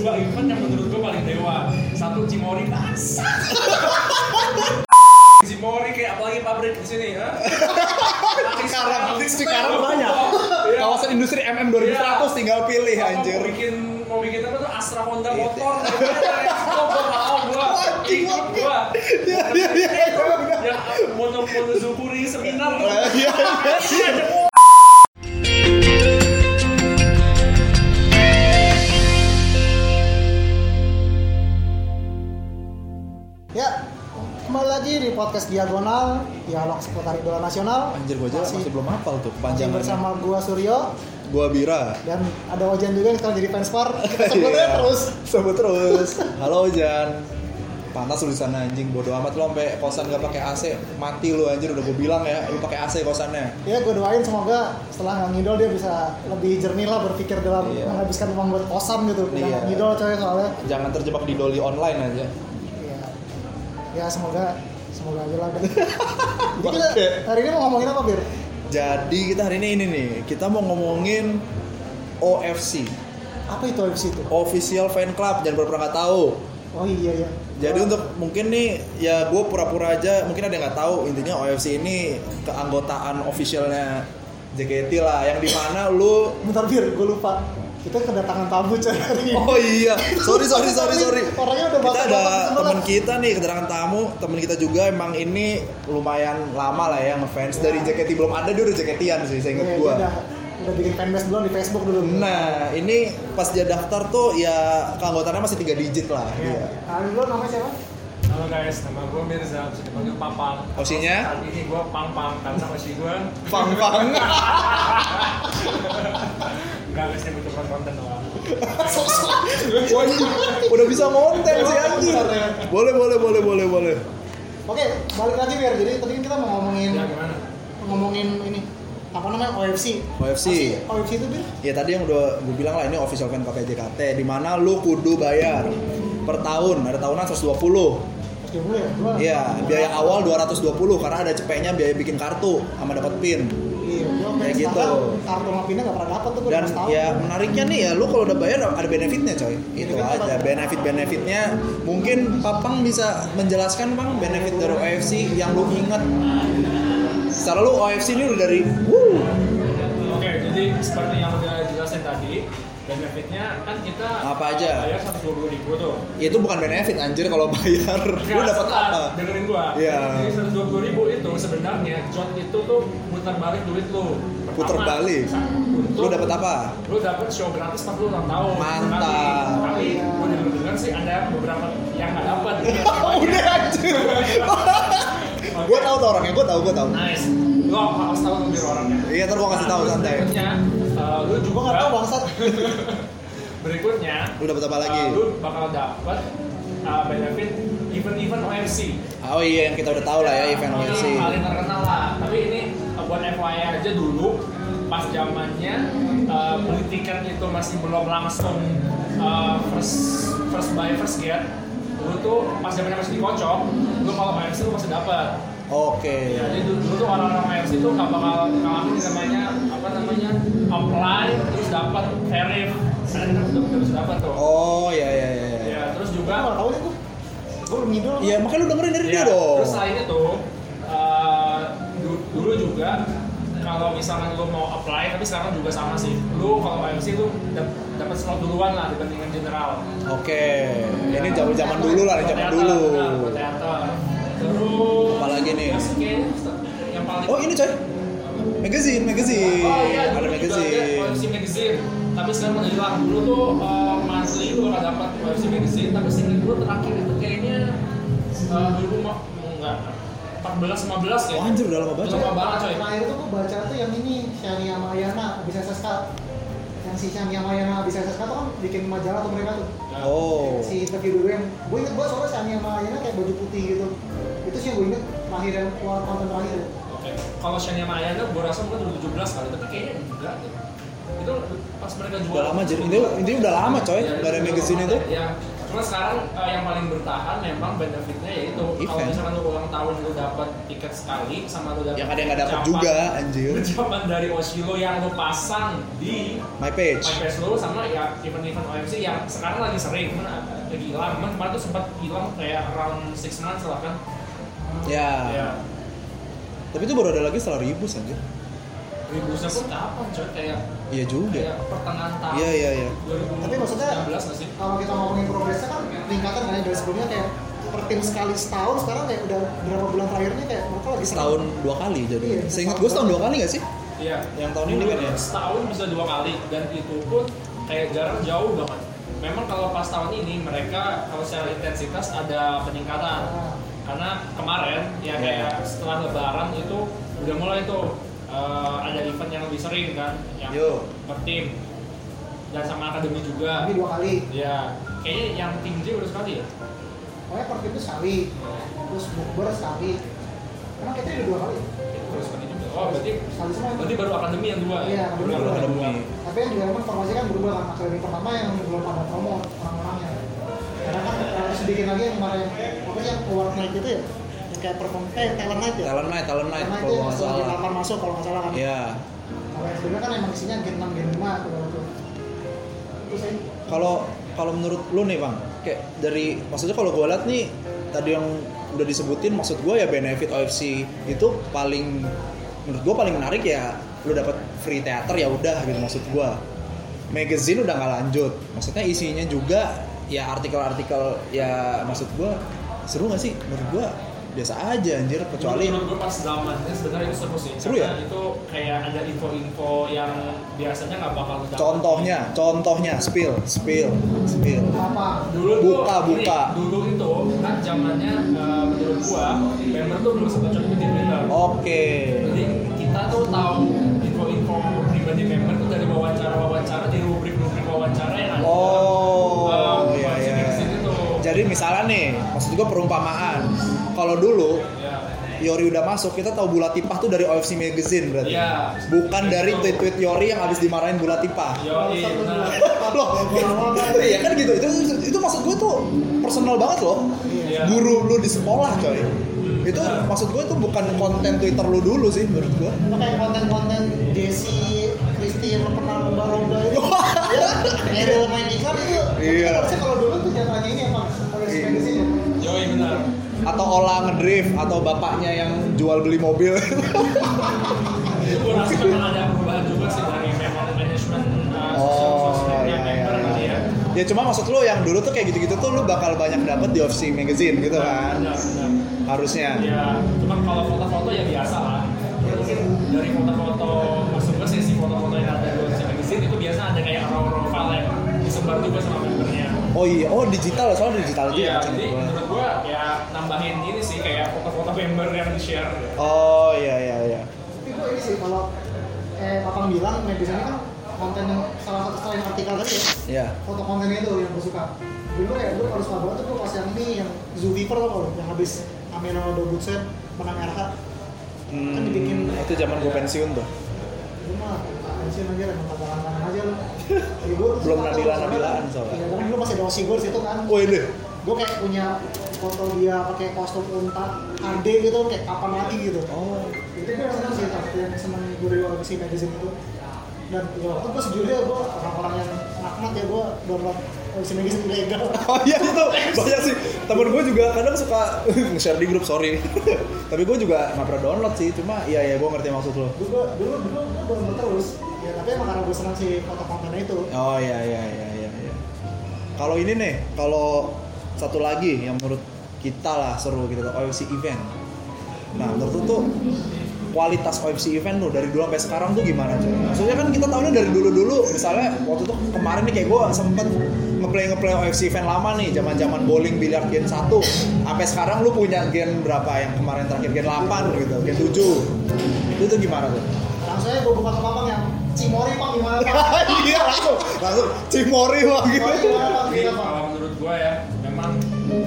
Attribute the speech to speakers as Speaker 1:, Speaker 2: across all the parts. Speaker 1: dua event yang menurut gue paling dewa satu Cimori Tasik Cimori kayak apalagi pabrik di sini ha? Pabrik
Speaker 2: Cikarang,
Speaker 1: pabrik
Speaker 2: Cikarang
Speaker 1: setel.
Speaker 2: banyak.
Speaker 1: Iya.
Speaker 2: Kawasan industri MM 2000
Speaker 1: Iya.
Speaker 2: tinggal pilih
Speaker 1: Apa,
Speaker 2: anjir.
Speaker 1: mau bikin mau bikin apa tuh Astra Honda
Speaker 2: Iya.
Speaker 1: motor gue mau gue
Speaker 2: Anjing,
Speaker 1: ikut
Speaker 2: oke.
Speaker 1: gue
Speaker 2: Iya, iya, iya, iya.
Speaker 1: yang motor-motor ya, Zukuri seminar tuh.
Speaker 2: Nah, Iya.
Speaker 1: Iya, ada orang.
Speaker 3: Ya, kembali lagi di podcast Diagonal, dialog seputar idola nasional.
Speaker 2: Anjir gua aja masih,
Speaker 3: masih,
Speaker 2: belum hafal tuh
Speaker 3: masih
Speaker 2: panjangannya.
Speaker 3: bersama gua Suryo
Speaker 2: Gua Bira.
Speaker 3: dan ada Ojan juga yang sekarang jadi fanspar. Kita sebutnya
Speaker 2: Iya.
Speaker 3: terus.
Speaker 2: Sebut terus. Halo Jan. Panas lu di sana anjing bodo amat lu sampai kosan gak pakai AC mati lu anjir udah gua bilang ya lu pakai AC kosannya.
Speaker 3: Ya, gua doain semoga setelah nggak ngidol dia bisa lebih jernih lah berpikir dalam
Speaker 2: Iya.
Speaker 3: menghabiskan uang buat kosan gitu. Udah nggak
Speaker 2: Iya.
Speaker 3: ngidol coy soalnya.
Speaker 2: Jangan terjebak di doli online aja.
Speaker 3: Ya, ya semoga semoga aja lah. Jadi kita
Speaker 2: Oke.
Speaker 3: hari ini mau ngomongin apa, Bir?
Speaker 2: Jadi kita hari ini ini nih, kita mau ngomongin OFC,
Speaker 3: Apa itu FC itu?
Speaker 2: Official Fan Club, jangan pura-pura nggak tahu.
Speaker 3: Oh iya ya.
Speaker 2: Jadi untuk mungkin nih ya gue pura-pura aja mungkin ada yang nggak tahu intinya OFC ini keanggotaan officialnya JKT lah yang dimana lu
Speaker 3: bentar Bir, gue lupa. Kita kedatangan tamu coy hari ini.
Speaker 2: oh iya sorry sorry sorry sorry
Speaker 3: Orangnya udah
Speaker 2: kita ada
Speaker 3: batak-batak semua
Speaker 2: teman
Speaker 3: lah.
Speaker 2: kita nih kedatangan tamu teman kita juga emang ini lumayan lama lah ya ngefans dari JKT belum ada dia udah JKT-an sih saya ingat
Speaker 3: Iya,
Speaker 2: gue
Speaker 3: dia Udah, udah bikin fanbase duluan di Facebook dulu.
Speaker 2: Nah, ini pas dia daftar tuh ya keanggotaannya masih tiga digit lah
Speaker 3: Iya.
Speaker 2: dia.
Speaker 3: Nah, lu namanya siapa?
Speaker 1: Halo guys, nama gue Mirza, bisa dipanggil Papang.
Speaker 2: Osinya?
Speaker 1: Saat ini gue Pang Pang, karena Osi gue
Speaker 2: Pang pang.
Speaker 1: nggak guys, dia butuh konten doang.
Speaker 2: Udah bisa ngonten
Speaker 3: Iya,
Speaker 2: sih anjir.
Speaker 3: ya.
Speaker 2: Boleh boleh boleh boleh boleh.
Speaker 3: Oke, balik lagi biar. Jadi tadi kan kita mau ngomongin
Speaker 1: Ya gimana?
Speaker 3: ngomongin ini apa namanya OFC.
Speaker 2: OFC.
Speaker 3: Apa sih OFC itu bir?
Speaker 2: Ya tadi yang udah gue bilang lah ini official fan pakai JKT di mana lu kudu bayar per tahun ada tahunan 120
Speaker 3: Oke dulu ya. Gua,
Speaker 2: Iya biaya awal 220 karena ada cepeknya biaya bikin kartu sama dapat pin
Speaker 3: Iya. Gua
Speaker 2: Kayak
Speaker 3: kayak
Speaker 2: gitu.
Speaker 3: gitu. Kartu mapinnya nggak pernah dapat tuh gue
Speaker 2: dan
Speaker 3: udah tahu.
Speaker 2: ya menariknya nih ya lu kalau udah bayar ada benefitnya coy itu
Speaker 3: Benefit apa?
Speaker 2: aja benefit benefitnya mungkin Papang bisa menjelaskan bang benefit dari OFC yang lu inget secara lu OFC ini udah dari wuh
Speaker 1: Oke, jadi seperti yang udah jelasin tadi, benefitnya kan kita
Speaker 2: Apa aja?
Speaker 1: Bayar seratus ribu tuh.
Speaker 2: ya itu bukan benefit anjir kalau bayar lu
Speaker 1: Nggak,
Speaker 2: dapat
Speaker 1: setelah,
Speaker 2: apa
Speaker 1: Dengerin gua.
Speaker 2: Iya.
Speaker 1: Jadi seratus ribu itu sebenarnya John itu tuh putar balik duit lu. Pertama,
Speaker 2: puter balik
Speaker 1: untuk-
Speaker 2: lu dapat apa
Speaker 1: lu dapat show gratis 46 tahun
Speaker 2: Mantap.
Speaker 1: tapi, tapi gue denger dengar sih ada beberapa yang nggak dapat Oh,
Speaker 2: udah anjir gue tau tuh orangnya gue tau gue tau
Speaker 1: nice lu harus tahu lebih orangnya
Speaker 2: iya ntar gue kasih tahu
Speaker 1: Nah,
Speaker 2: santai
Speaker 1: berikutnya eh, lu juga
Speaker 3: Gue nggak tahu bangsat.
Speaker 1: berikutnya
Speaker 2: lu dapat apa lagi
Speaker 1: eh, lu bakal dapat eh, benefit event-event OMC
Speaker 2: oh iya yang kita udah tahu lah ya event
Speaker 1: Ini
Speaker 2: OFC
Speaker 1: paling terkenal lah tapi ini eh, buat FYI aja dulu pas zamannya eh, beli tiket itu masih belum langsung eh, first first buy first get lu tuh pas zamannya masih dikocok lu kalau OFC lu masih dapat
Speaker 2: oke
Speaker 1: Ya, jadi dulu, dulu tuh orang-orang MC tuh nggak bakal ngalamin yang namanya apa namanya apply terus dapat tarif karena kita udah terus dapat tuh.
Speaker 2: Oh ya ya ya. ya.
Speaker 1: Ya terus
Speaker 3: Gue
Speaker 1: juga
Speaker 3: nggak tahu deh gue. Gue belum ngidul.
Speaker 2: Ya makanya lu dengerin dari
Speaker 1: ya,
Speaker 2: dia dong.
Speaker 1: terus selain itu eh, du- dulu juga kalau misalkan lu mau apply tapi sekarang juga sama sih. Lu kalau MC lu dap- dapat slot duluan lah dibandingkan general.
Speaker 2: Oke.
Speaker 1: Ya.
Speaker 2: Ini zaman zaman dulu lah,
Speaker 1: Buat
Speaker 2: zaman
Speaker 1: teater,
Speaker 2: dulu.
Speaker 1: benar, buat teater. nah, Terus
Speaker 2: Apalagi nih?
Speaker 1: ya, kayaknya yang paling
Speaker 2: Oh ini coy. Magazine, magazine.
Speaker 1: iya. Oh iya,
Speaker 2: Ada
Speaker 1: dulu juga ada
Speaker 2: magazine.
Speaker 1: OFC magazine. Tapi sekarang udah hilang. Dulu tuh eh, monthly lu bakal dapat OFC magazine, tapi single dulu terakhir itu kayaknya eh, dulu mau mau enggak 14 15 ya.
Speaker 2: Oh, anjir, udah lama banget,
Speaker 1: Lama
Speaker 2: ya.
Speaker 1: banget coy.
Speaker 3: Terakhir tuh gue baca tuh yang ini Shania Mayana bisa SSK yang si Shania Mayana bisa SSK tuh kan bikin majalah tuh mereka tuh
Speaker 2: Oh.
Speaker 3: si interview dulu yang gue inget banget soalnya Shania Mayana kayak baju putih gitu itu sih yang gue inget terakhir yang keluar konten terakhir
Speaker 1: Oke. Kalau Shania Mayana gua rasa mungkin dulu 17 kali, tapi kayaknya enggak deh. itu pas mereka jual
Speaker 2: Udah lama jadi itu itu udah lame coy,
Speaker 1: Ya,
Speaker 2: nggak ada
Speaker 1: itu
Speaker 2: magazine
Speaker 1: udah
Speaker 2: itu.
Speaker 1: lama, Ya, cuma sekarang eh, yang paling bertahan memang benefitnya yaitu kalau
Speaker 2: Event.
Speaker 1: misalkan lu ulang tahun lu dapat tiket sekali sama lu dapat
Speaker 2: Yang ada yang nggak dapat
Speaker 1: ucapan-
Speaker 2: juga anjir.
Speaker 1: ucapan dari Oshilo yang lu pasang di
Speaker 2: My page.
Speaker 1: MyPass lu sama ya event-event OMC yang sekarang lagi sering cuman agak- lagi hilang cuman kemarin tuh sempat hilang kayak around 6 months lah kan
Speaker 2: Ya.
Speaker 1: ya
Speaker 2: Tapi itu baru ada lagi setelah ribu anjir.
Speaker 1: ribusnya pun kapan coy kayak
Speaker 2: Iya juga.
Speaker 1: kayak pertengahan tahun
Speaker 2: Iya iya iya.
Speaker 3: Tapi maksudnya-
Speaker 1: 2019 nggak sih
Speaker 3: kalau kita ngomongin progresnya kan tingkatan kan ya dari sebelumnya kayak per tim sekali setahun sekarang kayak udah berapa bulan terakhirnya kayak mereka lagi sering-
Speaker 2: Setahun dua kali jadi.
Speaker 3: Iya,
Speaker 2: Seingat
Speaker 3: setahun
Speaker 2: gue setahun
Speaker 3: dua
Speaker 2: dua kali gak sih?
Speaker 1: Iya.
Speaker 2: Yang tahun ini kan ya?
Speaker 1: Setahun bisa dua kali dan itu pun kayak jarak jauh banget. Memang kalau pas tahun ini mereka kalau secara intensitas ada peningkatan.
Speaker 3: Ah,
Speaker 1: Karena kemarin ya
Speaker 2: Iya.
Speaker 1: kayak setelah lebaran itu udah mulai tuh eh, ada event yang lebih sering kan yang
Speaker 2: Yo.
Speaker 1: per tim dan sama akademi juga.
Speaker 3: tapi dua kali
Speaker 1: Ya, kayaknya yang tim J udah sekali ya.
Speaker 3: pokoknya per tim itu sekali terus bukber sekali emang kita udah dua kali
Speaker 1: Udah sekali juga. Oh, berarti
Speaker 3: sekali semua
Speaker 1: berarti baru akademi yang dua
Speaker 3: Iya,
Speaker 1: ya.
Speaker 3: akademi
Speaker 1: Baru
Speaker 3: dua.
Speaker 1: dua.
Speaker 2: Akademi.
Speaker 3: tapi yang juga emang formasi kan berubah kan akademi pertama yang belum ada promo orang-orangnya karena kan eh, sedikit lagi yang kemarin apa sih yang award night itu ya yang kayak perform eh talent night ya
Speaker 2: Talent night, talent night
Speaker 3: karena itu
Speaker 2: kalau
Speaker 3: yang
Speaker 2: nggak
Speaker 3: setelah
Speaker 2: salah.
Speaker 3: delapan masuk kalau nggak salah kan
Speaker 2: Iya.
Speaker 3: kalau yang sebelumnya kan emang isinya gen 6, gen 5 tuh waktu itu terus ini
Speaker 2: Kalau kalau menurut lu nih bang, kayak dari maksudnya kalau gue liat nih tadi yang udah disebutin maksud gue ya benefit OFC itu paling menurut gue paling menarik ya lu dapat free theater ya udah gitu maksud gue. Magazine udah nggak lanjut, maksudnya isinya juga ya artikel-artikel ya maksud gue seru gak sih menurut gue biasa aja anjir kecuali
Speaker 1: menurut gue pas zamannya sebenarnya itu seru sih
Speaker 2: Seru ya?
Speaker 1: Karena itu kayak ada info-info yang biasanya nggak bakal lu dapat.
Speaker 2: contohnya contohnya spill spill spill
Speaker 3: apa
Speaker 1: dulu
Speaker 2: Buka,
Speaker 1: tuh,
Speaker 2: buka.
Speaker 1: gini, dulu itu kan zamannya eh, menurut gua member tuh belum sempat jadi member
Speaker 2: oke
Speaker 1: jadi kita tuh tahu info-info pribadi member tuh dari wawancara-wawancara di rubrik-rubrik wawancara yang ada
Speaker 2: Oh,
Speaker 1: Eh,
Speaker 2: iya, iya.
Speaker 1: magazine-magazine tuh.
Speaker 2: Jadi misalnya nih, maksud gua perumpamaan. Kalau dulu
Speaker 1: Ya.
Speaker 2: Yori udah masuk, kita tahu Bulatipah tuh dari OFC Magazine berarti.
Speaker 1: Iya.
Speaker 2: Bukan dari tweet-tweet Yori yang habis dimarahin Bulatipah.
Speaker 1: Yo, iya, benar.
Speaker 2: Loh, iya kan gitu. Itu itu maksud gue tuh personal banget loh.
Speaker 1: Iya.
Speaker 2: Guru lu di sekolah, coy. Itu maksud gue itu bukan konten Twitter lu dulu sih menurut gua.
Speaker 3: Itu kayak konten-konten Desi, Kristi yang pernah lomba lomba itu ya, kayak dalam main iklan itu
Speaker 2: Iya.
Speaker 3: harusnya kalau dulu tuh jatuhnya ini emang oleh
Speaker 2: Iya.
Speaker 3: sepeda sih
Speaker 1: Yo, iya, benar.
Speaker 2: Atau olah ngedrift atau bapaknya yang jual beli mobil.
Speaker 1: Itu gue rasa memang ada perubahan juga sih dari memang manajemen uh,
Speaker 2: Oh,
Speaker 1: sosial
Speaker 2: iya,
Speaker 1: sosmednya member kali ya.
Speaker 2: Ya cuma maksud lu yang dulu tuh kayak gitu-gitu tuh lu bakal banyak dapet di OFC magazine gitu kan.
Speaker 1: Benar, benar.
Speaker 2: Harusnya.
Speaker 1: Ya, cuman kalau foto-foto ya biasa lah. Ya, Mungkin dari foto-foto, maksud gue sesi foto-foto yang ada di website magazine itu biasa ada kayak orang-orang file yang disebar juga sama membernya.
Speaker 2: Oh iya, oh digital soalnya digital juga
Speaker 1: Iya,
Speaker 2: maksud
Speaker 1: jadi
Speaker 2: gua.
Speaker 1: menurut gue ya nambahin ini sih kayak foto-foto member yang di-share.
Speaker 2: Oh iya iya iya.
Speaker 3: tapi gue ini sih kalau eh Papang bilang medisnya kan konten yang salah satu selain artikel tadi ya
Speaker 2: Iya.
Speaker 3: foto kontennya itu yang gue suka dulu ya gue harus banget tuh gue pas yang ini yang Zulfifer loh kalau yang habis Amino Dobusen menang RH
Speaker 2: Hmm,
Speaker 3: Kan dibikin.
Speaker 2: itu zaman gua pensiun tuh.
Speaker 3: Lu mah pensiun aja emang kata-kataan aja lu Ya, gua tuh
Speaker 2: Belum
Speaker 3: suka tuh,
Speaker 2: nabilan-nabilaan soalnya.
Speaker 3: Iya, kan dulu masih ada Osi Gors itu kan
Speaker 2: Woi deh.
Speaker 3: gue kayak punya foto dia pakai kostum unta HD gitu kayak kapan mati gitu
Speaker 2: Oh.
Speaker 3: itu gue seneng sih tapi yang seneng gue dari koleksi magazine itu dan ya waktu gue sejujurnya gue orang-orang yang nakmat ya gue download koleksi magazine ilegal
Speaker 2: Oh iya itu banyak sih. Temen gua juga kadang suka share di grup sorry. Tapi gua juga nggak pernah download sih. Cuma iya iya gua ngerti maksud lu.
Speaker 3: dulu dulu dulu gue download terus ya tapi emang karena gue seneng sih foto kontennya itu
Speaker 2: Oh iya iya iya iya. iya. Kalau ini nih, kalau satu lagi yang menurut kita lah seru gitu tuh OFC event. Nah, menurut lu tuh kualitas OFC event tuh dari dulu sampai sekarang tuh gimana coy? Maksudnya kan kita tahunya dari dulu-dulu misalnya waktu itu kemarin nih kayak gue sempet ngeplay ngeplay OFC event lama nih zaman-zaman bowling biliar gen 1 sampai sekarang lu punya gen berapa yang kemarin terakhir gen 8 gitu gen 7 itu tuh gimana tuh?
Speaker 3: langsung aja gue buka ke papang yang Cimori pak gimana pak
Speaker 2: iya langsung langsung cimori wah gitu
Speaker 3: Cimori gimana pak
Speaker 1: Tapi
Speaker 3: Gimana, pak
Speaker 1: kalau menurut gue ya, memang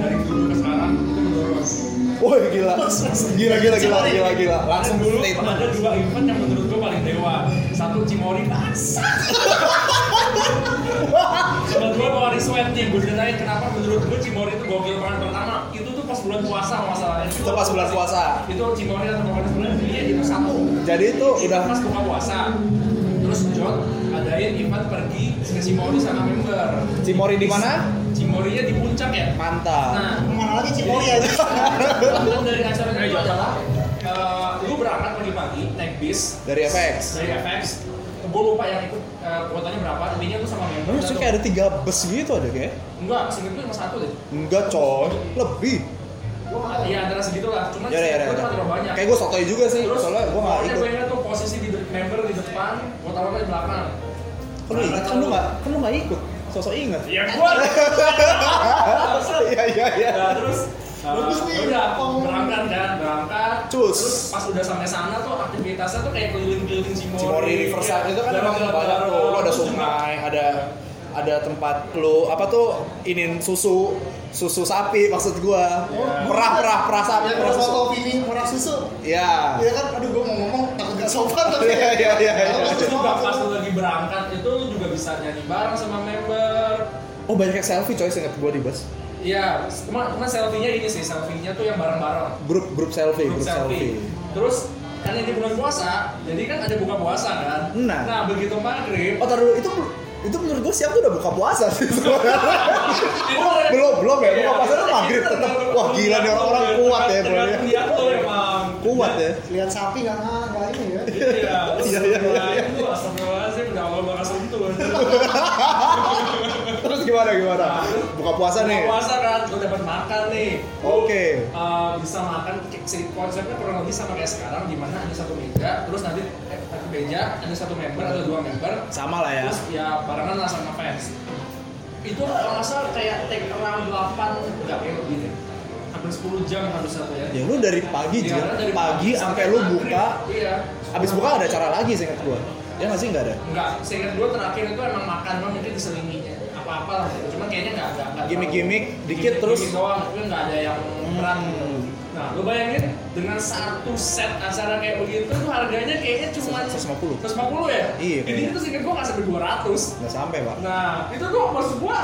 Speaker 1: dari dulu ke sekarang itu menurun.
Speaker 2: Woi gila. Gila gila gila gila gila. Langsung
Speaker 1: dulu
Speaker 2: statement.
Speaker 1: ada dua event yang menurut gue paling dewa. Satu Cimori Laksa. Kedua Mawari Sweat nih, gue ceritain kenapa menurut gue Cimori itu gokil banget Pertama, itu tuh pas bulan puasa masalahnya
Speaker 2: Itu pas bulan puasa.
Speaker 1: Itu Cimori atau Mawari Sweat, dia itu satu
Speaker 2: Jadi itu udah
Speaker 1: pas buka puasa terus John adain Ivan pergi ke Cimory sama member
Speaker 2: Cimory di mana?
Speaker 1: Cimorinya di puncak ya
Speaker 2: Mantap.
Speaker 1: nah
Speaker 3: Kemana lagi Cipori ya?
Speaker 1: tujuan dari acara itu adalah eh, lu berangkat pagi-pagi naik bis
Speaker 2: Dari FX.
Speaker 1: dari FX gue lupa yang ikut eh, kuotanya berapa intinya tuh sama member
Speaker 2: Tapi sih
Speaker 1: tuh-
Speaker 2: kayak ada tiga bus gitu ada kayak.
Speaker 1: enggak singkat gue cuma satu deh
Speaker 2: Enggak coy, lebih.
Speaker 1: Iya antara segitulah, cuma
Speaker 2: Ya ya
Speaker 1: singkat
Speaker 2: ya.
Speaker 1: gue cuma terlalu banyak.
Speaker 2: Kayak gue sotoy juga sih,
Speaker 1: Terus,
Speaker 2: soalnya gue nggak
Speaker 1: pokoknya
Speaker 2: ikut.
Speaker 1: Gue ingat tuh posisi di de- member di depan, gue taruh di belakang. Nah,
Speaker 2: Kan lu ingat kan lu nggak, kan lu nggak ikut. Sosok ingat.
Speaker 1: Ya gue
Speaker 2: Iya iya iya.
Speaker 1: Nah, terus uh,
Speaker 3: Bagus nih.
Speaker 1: udah
Speaker 3: Oh.
Speaker 1: berangkat kan berangkat
Speaker 2: Cus.
Speaker 1: terus pas udah sampai sana tuh aktivitasnya tuh kayak keliling-keliling Iya. Cimory
Speaker 2: Cimory Riverside itu kan emang banyak tuh. Lo ada sungai, ada ada tempat lo apa tuh inin susu susu sapi maksud gua
Speaker 1: Iya.
Speaker 2: perah perah perah sapi
Speaker 3: Yang
Speaker 2: perah
Speaker 3: terus
Speaker 2: susu
Speaker 3: foto piring murah susu.
Speaker 2: ya
Speaker 3: Iya kan, aduh gue mau ngomong takut gak sopan tapi.
Speaker 2: Iya, iya, iya, iya.
Speaker 3: Kalau
Speaker 1: Nah, terus
Speaker 3: terus
Speaker 1: juga
Speaker 3: ngomong,
Speaker 1: pas lu lagi berangkat itu lu juga bisa nyanyi bareng sama member
Speaker 2: oh banyak yang selfie coy seinget gua di bus
Speaker 1: Iya, cuma cuma selfie-nya ini sih, selfie-nya tuh yang bareng-bareng.
Speaker 2: grup grup selfie
Speaker 1: Grup
Speaker 2: grup selfie
Speaker 1: selfie. Terus kan ini bulan puasa, jadi kan ada buka puasa kan.
Speaker 2: Nah.
Speaker 1: nah begitu maghrib,
Speaker 2: oh taruh dulu itu itu menurut gua siang tuh udah buka puasa sih
Speaker 1: itu ada-
Speaker 2: belum belum ya buka
Speaker 1: Iya,
Speaker 2: puasa tuh
Speaker 1: itu
Speaker 2: maghrib tetap
Speaker 1: tergantung-
Speaker 2: wah gila nih orang-orang kuat ya bro ya
Speaker 1: tergantung dia tuh emang.
Speaker 2: kuat ya
Speaker 3: Lihat sapi nggak nggak nggak ini ya.
Speaker 1: Iya,
Speaker 2: Iya,
Speaker 1: iya,
Speaker 2: iya,
Speaker 1: iya,
Speaker 2: iya, iya.
Speaker 1: Itu astagfirullahaladzim, udah awal bakal sentuh.
Speaker 2: terus gimana gimana buka puasa nih
Speaker 1: Puasa kan, gue dapat makan nih.
Speaker 2: Oke.
Speaker 1: Eh, bisa makan, kayak si konsepnya kurang lebih sama kayak sekarang, di mana ada satu meja, terus nanti eh, satu meja, ada satu member atau dua member,
Speaker 2: sama lah ya
Speaker 1: terus ya barengan lah sama fans. Itu kalau nggak salah kayak take around 8, enggak kayak lebih deh. Hampir 10 jam harus satu ya.
Speaker 2: Ya lu dari pagi
Speaker 1: Iya,
Speaker 2: Jil,
Speaker 1: karena dari
Speaker 2: pagi sampai lu
Speaker 1: maghrib.
Speaker 2: buka,
Speaker 1: Iya.
Speaker 2: abis buka ada acara lagi seingat gua. Ya nggak sih nggak ada.
Speaker 1: Enggak, seingat gue terakhir itu emang makan doang mungkin diselinginya apa-apa lah gitu. Cuman kayaknya enggak enggak enggak
Speaker 2: Gimik-gimik,
Speaker 1: terlalu-
Speaker 2: dikit
Speaker 1: gimik-gimik
Speaker 2: terus.
Speaker 1: doang, tapi enggak ada yang peran gitu.
Speaker 2: Hmm.
Speaker 1: Nah, lu bayangin dengan satu set acara kayak begitu tuh harganya kayaknya cuma
Speaker 2: 150.
Speaker 1: 150 ya?
Speaker 2: Iya,
Speaker 1: Ini
Speaker 2: kayaknya.
Speaker 1: itu seingat gue enggak sampai 200.
Speaker 2: Nggak sampai pak.
Speaker 1: Nah, itu tuh maksud gua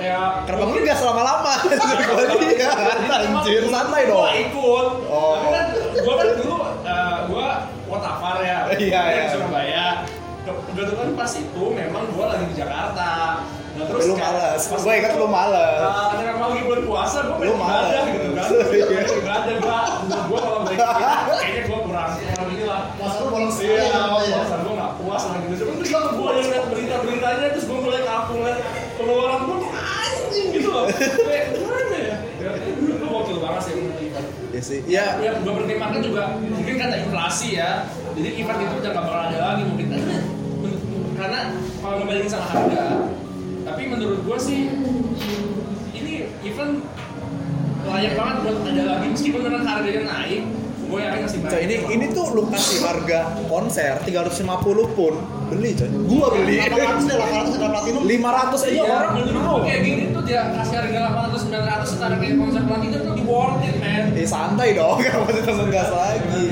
Speaker 1: kayak
Speaker 2: Kenapa lu nggak selama-lama? Gua dia anjir santai
Speaker 1: Gua
Speaker 2: dong.
Speaker 1: ikut.
Speaker 2: Oh.
Speaker 1: Tapi kan gua kan dulu eh, gua wotafar ya.
Speaker 2: Iya,
Speaker 1: Dari
Speaker 2: iya.
Speaker 1: Surabaya. Kebetulan pas itu memang gua lagi di Jakarta. Nah,
Speaker 2: Tapi lu
Speaker 1: kayak
Speaker 2: malas.
Speaker 1: pas
Speaker 2: Gua ingat
Speaker 1: itu,
Speaker 2: lu malas.
Speaker 1: eh, karena mau lagi bulan puasa, gua pengen
Speaker 2: Lu malas.
Speaker 1: ibadah gitu kan.
Speaker 2: Iya.
Speaker 1: Pengen ibadah gua. Gua kalau balik kayaknya gua kurang kurang inilah.
Speaker 3: Puasa lu bolong sekali
Speaker 1: Iya,
Speaker 3: ya, Pak, ya.
Speaker 1: puasa gue gak puas lah gitu. Cuma terus kalau gue yang liat berita-beritanya, terus gue mulai kapung liat pengeluaran gue anjing gitu loh. Kayak gimana ya? Ya, Gue gokil banget sih menurut Ivan.
Speaker 2: Ya sih. Ya
Speaker 1: Ya, gue pertimbangkan juga mungkin karena inflasi ya. Jadi Ivan itu udah gak bakal ada lagi mungkin. Karena kalau ngebandingin sama harga, tapi menurut gue sih ini event layak banget buat ada lagi meskipun dengan harganya naik gue yakin masih banyak
Speaker 2: coy Nah, ini ini tuh lu kasih harga konser 350 pun beli coy. Gua beli.
Speaker 3: 800 deh, 800 udah platinum.
Speaker 2: 500 aja
Speaker 1: Iya,
Speaker 2: orang
Speaker 1: menurut
Speaker 2: mau.
Speaker 1: gua kayak gini tuh dia kasih harga 800 900 setara kayak konser platinum tuh di worth it, man.
Speaker 2: Eh santai dong, kenapa sih langsung gas lagi?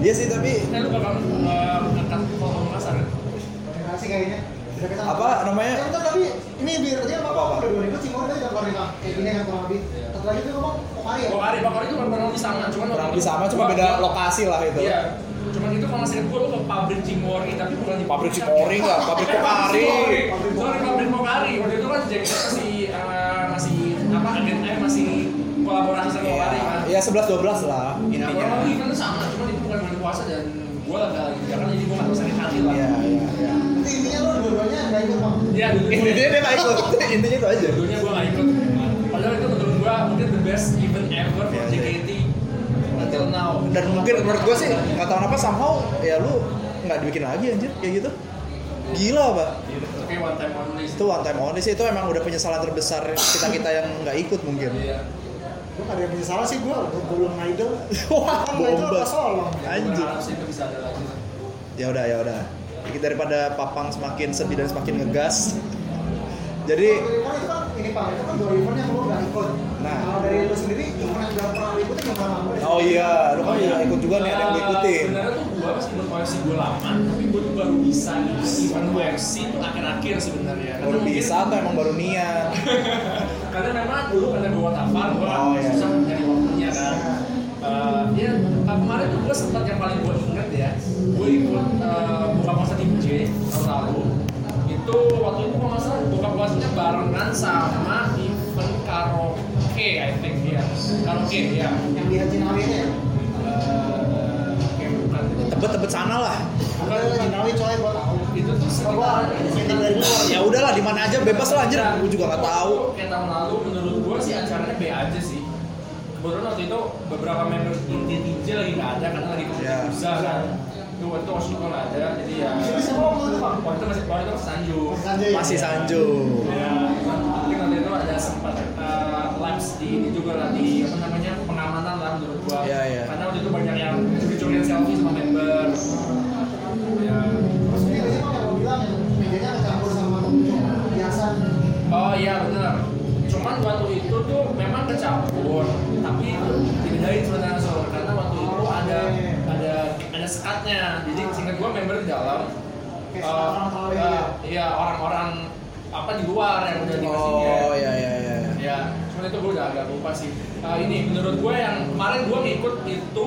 Speaker 2: Iya sih tapi
Speaker 1: Kan lu bakal eh, angkat potong pasar kan?
Speaker 3: Terima kasih kayaknya. Udah kita-
Speaker 2: Apa namanya?
Speaker 3: Ya, bentar, tapi ini biar dia apa
Speaker 2: Apa-apa?
Speaker 3: apa udah 2000 Cimori tadi udah keluar nih, kayak gini kan kurang lebih. Satu lagi tuh ngomong Kokari ya.
Speaker 1: Kalau hari bakar itu kan kurang lebih sama, cuman
Speaker 2: kurang lebih sama cuma beda lokasi lah itu.
Speaker 1: Iya. Cuman itu kalau saya gua lu ke pabrik Cimory tapi bukan di
Speaker 2: Pabrik
Speaker 1: puncak.
Speaker 2: Cimory nggak? Pabrik
Speaker 1: Eh,
Speaker 2: Pokari.
Speaker 1: Pabrik Pokari. Sorry, pabrik Pokari. Waktu itu kan Jack Jack masih eh, masih apa agen eh, masih kolaborasi sama Pokari kan.
Speaker 2: Iya, 11 12 lah
Speaker 1: Nah,
Speaker 2: intinya.
Speaker 1: kurang lebih kan sama, cuman itu bukan bulan puasa dan gua lagi di Jakarta jadi gua nggak bisa sakit hati lah.
Speaker 2: Iya, iya, iya.
Speaker 3: Nanti intinya lu dua-duanya nggak ikut Bang.
Speaker 1: Iya, dulu
Speaker 2: Intinya dia nggak ikut. Intinya itu aja.
Speaker 1: dulunya gue gak ikut. Padahal itu menurut gue mungkin the best event ever for
Speaker 2: Iya, iya.
Speaker 1: JKT until now.
Speaker 2: Dan mungkin menurut gue sih nggak tahu kenapa somehow ya lu nggak dibikin lagi anjir kayak gitu. Gila pak.
Speaker 1: Itu kayak one time only. sih.
Speaker 2: Itu one time only sih itu emang udah penyesalan terbesar kita kita yang nggak ikut mungkin.
Speaker 1: Iya.
Speaker 3: Gue nggak ada yang punya salah sih gue, gue belum idol.
Speaker 2: Wah,
Speaker 3: Kan idol
Speaker 2: bomba.
Speaker 3: apa Solong?
Speaker 1: Gue
Speaker 2: Anjir.
Speaker 1: harap sih itu bisa ada lagi. lah.
Speaker 2: Ya udah, ya udah. Jadi daripada Papang semakin sedih dan semakin ngegas. Jadi
Speaker 3: Kalau dari Pon itu kan ini pak, itu kan dua event yang lu nggak ikut.
Speaker 2: Nah.
Speaker 3: Kalau dari lu sendiri, event yang udah pernah lu ikutin yang sama
Speaker 2: Oh iya, lu kan juga ikut juga nih, ada yang gue ikutin.
Speaker 1: Sebenarnya tuh gua meskipun koleksi gua lama, tapi gua tuh baru bisa event UFC itu akhir-akhir sebenarnya. Karena
Speaker 2: Baru
Speaker 1: mungkin-
Speaker 2: bisa atau emang baru niat?
Speaker 1: karena memang dulu kan karena gue watafan gue
Speaker 2: Oh, iya.
Speaker 1: susah mencari waktunya kan Eh, ya ah, kemarin tuh gue sempat yang paling gue inget ya gue ikut eh, buka puasa di UJ tahun lalu itu waktu itu kalau nggak salah buka puasanya barengan sama event karaoke I think ya karaoke ya
Speaker 3: yang di Haji Nawawi itu ya
Speaker 1: Eh, oke, bukan
Speaker 2: Tebet-tebet sana lah.
Speaker 3: ada Haji Nawawi coy gua tahu
Speaker 1: itu tuh
Speaker 3: gua
Speaker 1: sekitar
Speaker 3: sekitar dari luar
Speaker 2: Ya udahlah, di mana aja bebas lah anjir. Gue juga nggak tahu.
Speaker 1: Kayak tahun lalu menurut gue sih acaranya B aja sih. Kebetulan waktu itu beberapa member inti tinja lagi nggak ada karena lagi konflik
Speaker 2: Ya.
Speaker 1: usaha kan. Itu waktu itu Washington nggak ada, jadi ya.
Speaker 3: Ini semua Iya, waktu itu, Bang?
Speaker 1: Waktu itu masih waktu itu masih Sanju.
Speaker 3: Masih Sanju ya?
Speaker 2: Masih Sanjo.
Speaker 1: Ya, mungkin waktu itu ada sempat eh, lapse di ini juga lah di apa namanya pengamanan lah menurut gua.
Speaker 2: Ya, ya.
Speaker 1: Karena waktu itu banyak yang curi-curian selfie sama member. Ya.
Speaker 3: terus ini tadi kan yang lo bilang yang mejanya kecampur sama hiasan
Speaker 1: Oh iya benar. Cuman waktu itu tuh memang kecampur, tapi dibedain sebenarnya soal karena waktu itu ada ada ada sekatnya. Jadi singkat gua member di dalam.
Speaker 3: Kayak
Speaker 1: eh,
Speaker 3: orang tahu ya.
Speaker 1: eh, Iya orang-orang apa di luar yang udah dikasih
Speaker 2: Oh iya iya iya.
Speaker 1: Ya, cuman itu gue udah agak lupa sih. Eh, ini menurut gue yang kemarin gue ngikut itu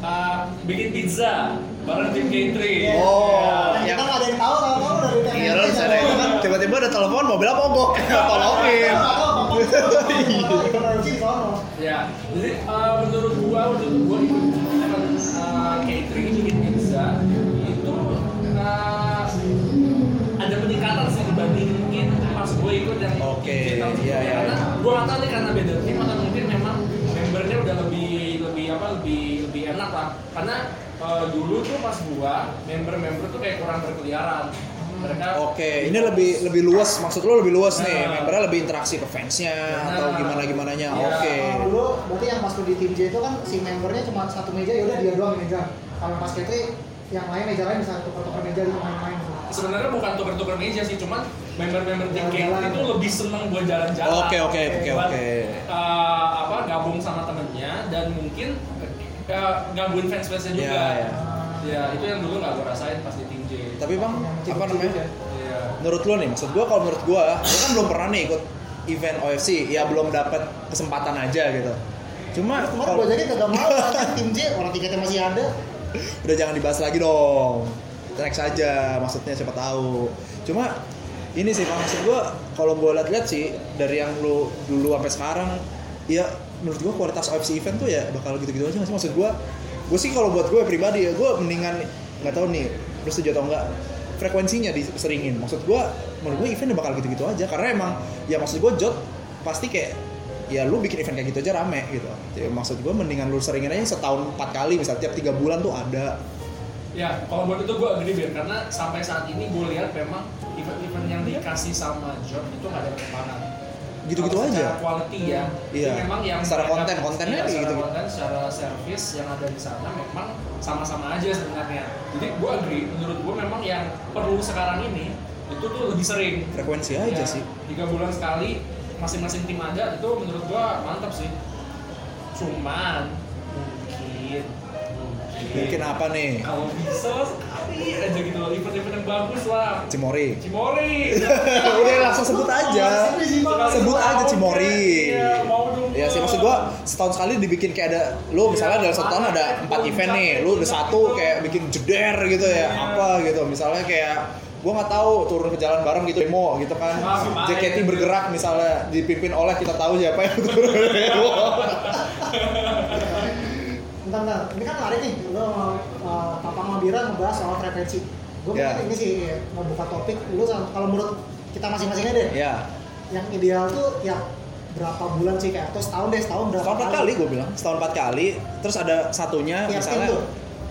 Speaker 1: eh, bikin pizza bareng tim Gaitri. Iya.
Speaker 2: Oh,
Speaker 3: Yang
Speaker 2: yang-
Speaker 3: kita nggak ada yang tahu kalau tahu dari
Speaker 2: Iya, lu harus ada itu kan tiba-tiba ada telepon mobilnya mogok. Tolongin. Iya.
Speaker 1: Ya, jadi eh, menurut gua waktu itu gua ikut eh, catering bikin pizza itu eh, ada peningkatan sih dibandingin pas gua ikut yang
Speaker 2: Oke,
Speaker 1: di tahun
Speaker 2: iya,
Speaker 1: sebelumnya.
Speaker 2: iya,
Speaker 1: karena
Speaker 2: iya.
Speaker 1: gua nggak tahu nih karena beda tim atau mungkin memang membernya udah lebih lebih apa lebih lebih enak lah karena eh, dulu tuh pas gua member-member tuh kayak kurang berkeliaran mereka
Speaker 2: Oke, ini lebih lebih luas. Maksud lu lebih luas nih.
Speaker 1: Nah.
Speaker 2: Membernya lebih interaksi ke fansnya
Speaker 3: Nah.
Speaker 2: atau gimana gimananya.
Speaker 1: Iya.
Speaker 2: Oke.
Speaker 3: dulu berarti yang pas lu di tim J itu kan si membernya cuma satu meja ya udah dia doang yang meja kalau pas KT yang lain meja lain bisa tukar-tukar meja gitu main-main
Speaker 2: Iya.
Speaker 1: sebenarnya bukan tukar-tukar meja sih cuman member-member tim catering
Speaker 3: Jalan-jalan.
Speaker 1: itu lebih seneng buat jalan-jalan
Speaker 2: Oke oke oke
Speaker 1: buat,
Speaker 2: oke.
Speaker 1: eh, apa gabung sama temennya dan mungkin eh, gangguin fans fansnya juga
Speaker 2: Ya,
Speaker 1: ya,
Speaker 2: ya.
Speaker 1: itu yang dulu nggak gue rasain pas di tim J
Speaker 2: Tapi Bang, apa namanya?
Speaker 1: Iya.
Speaker 2: menurut lo nih maksud gua kalau menurut gua gua kan belum pernah nih ikut event OFC ya belum dapat kesempatan aja gitu cuma
Speaker 3: kemarin
Speaker 2: kalau
Speaker 3: gua jadi kagak mau kan tim J orang tiketnya masih ada
Speaker 2: udah jangan dibahas lagi dong Kita next saja maksudnya siapa tahu cuma ini sih Bang, maksud gua kalau gua lihat-lihat sih dari yang lu dulu sampai sekarang ya menurut gua kualitas OFC event tuh ya bakal gitu-gitu aja nggak sih maksud gua gua sih kalau buat gue pribadi ya gua mendingan nggak tahu nih lu setuju atau enggak frekuensinya diseringin maksud gua menurut gua event bakal gitu-gitu aja karena emang ya maksud gua jod pasti kayak ya lu bikin event kayak gitu aja rame gitu Jadi, maksud gue mendingan lu seringin aja setahun empat kali misal tiap tiga bulan tuh ada
Speaker 1: ya kalau buat itu gue agree Ben karena sampai saat ini gue lihat memang event-event yang dikasih sama John itu nggak ada perkembangan
Speaker 2: gitu-gitu
Speaker 1: Kalau
Speaker 2: aja
Speaker 1: secara quality ya Jadi
Speaker 2: Iya.
Speaker 1: memang yang
Speaker 2: Secara
Speaker 1: mereka-
Speaker 2: konten, kontennya
Speaker 1: iya,
Speaker 2: kayak
Speaker 1: secara
Speaker 2: gitu.
Speaker 1: konten secara service yang ada di sana memang sama-sama aja sebenarnya jadi gue agree menurut gue memang yang perlu sekarang ini itu tuh lebih sering
Speaker 2: frekuensi
Speaker 1: Ya,
Speaker 2: Iya aja sih
Speaker 1: tiga bulan sekali masing-masing tim ada itu menurut gua mantap sih cuman mungkin
Speaker 2: mungkin apa nih
Speaker 1: kalau bisa sekali aja gitu loh event-event yang bagus lah
Speaker 2: Cimori
Speaker 1: Cimori
Speaker 2: Ya udah langsung sebut aja sebut aja Cimori
Speaker 1: Iya, mau dong
Speaker 2: ya sih maksud gua setahun sekali dibikin kayak ada lu misalnya dalam setahun ada empat event nih lu udah satu kayak bikin jeder gitu ya apa gitu misalnya kayak gua nggak tahu turun ke jalan bareng gitu demo gitu kan JKT bergerak misalnya dipimpin oleh kita tahu siapa yang turun demo
Speaker 3: Bentar, bentar. Ini kan menarik nih. Lo uh, Papang Mabira ngebahas soal frekuensi. Gue
Speaker 2: Ya.
Speaker 3: pengen ini sih ya, mau buka topik. Lu sama- kalau menurut kita masing-masingnya deh,
Speaker 2: Ya,
Speaker 3: yang ideal tuh ya berapa bulan sih kayak atau setahun deh, setahun berapa
Speaker 2: setahun empat kali gue bilang, setahun empat kali. Terus ada satunya
Speaker 3: Tiap
Speaker 2: misalnya,
Speaker 3: tim tuh?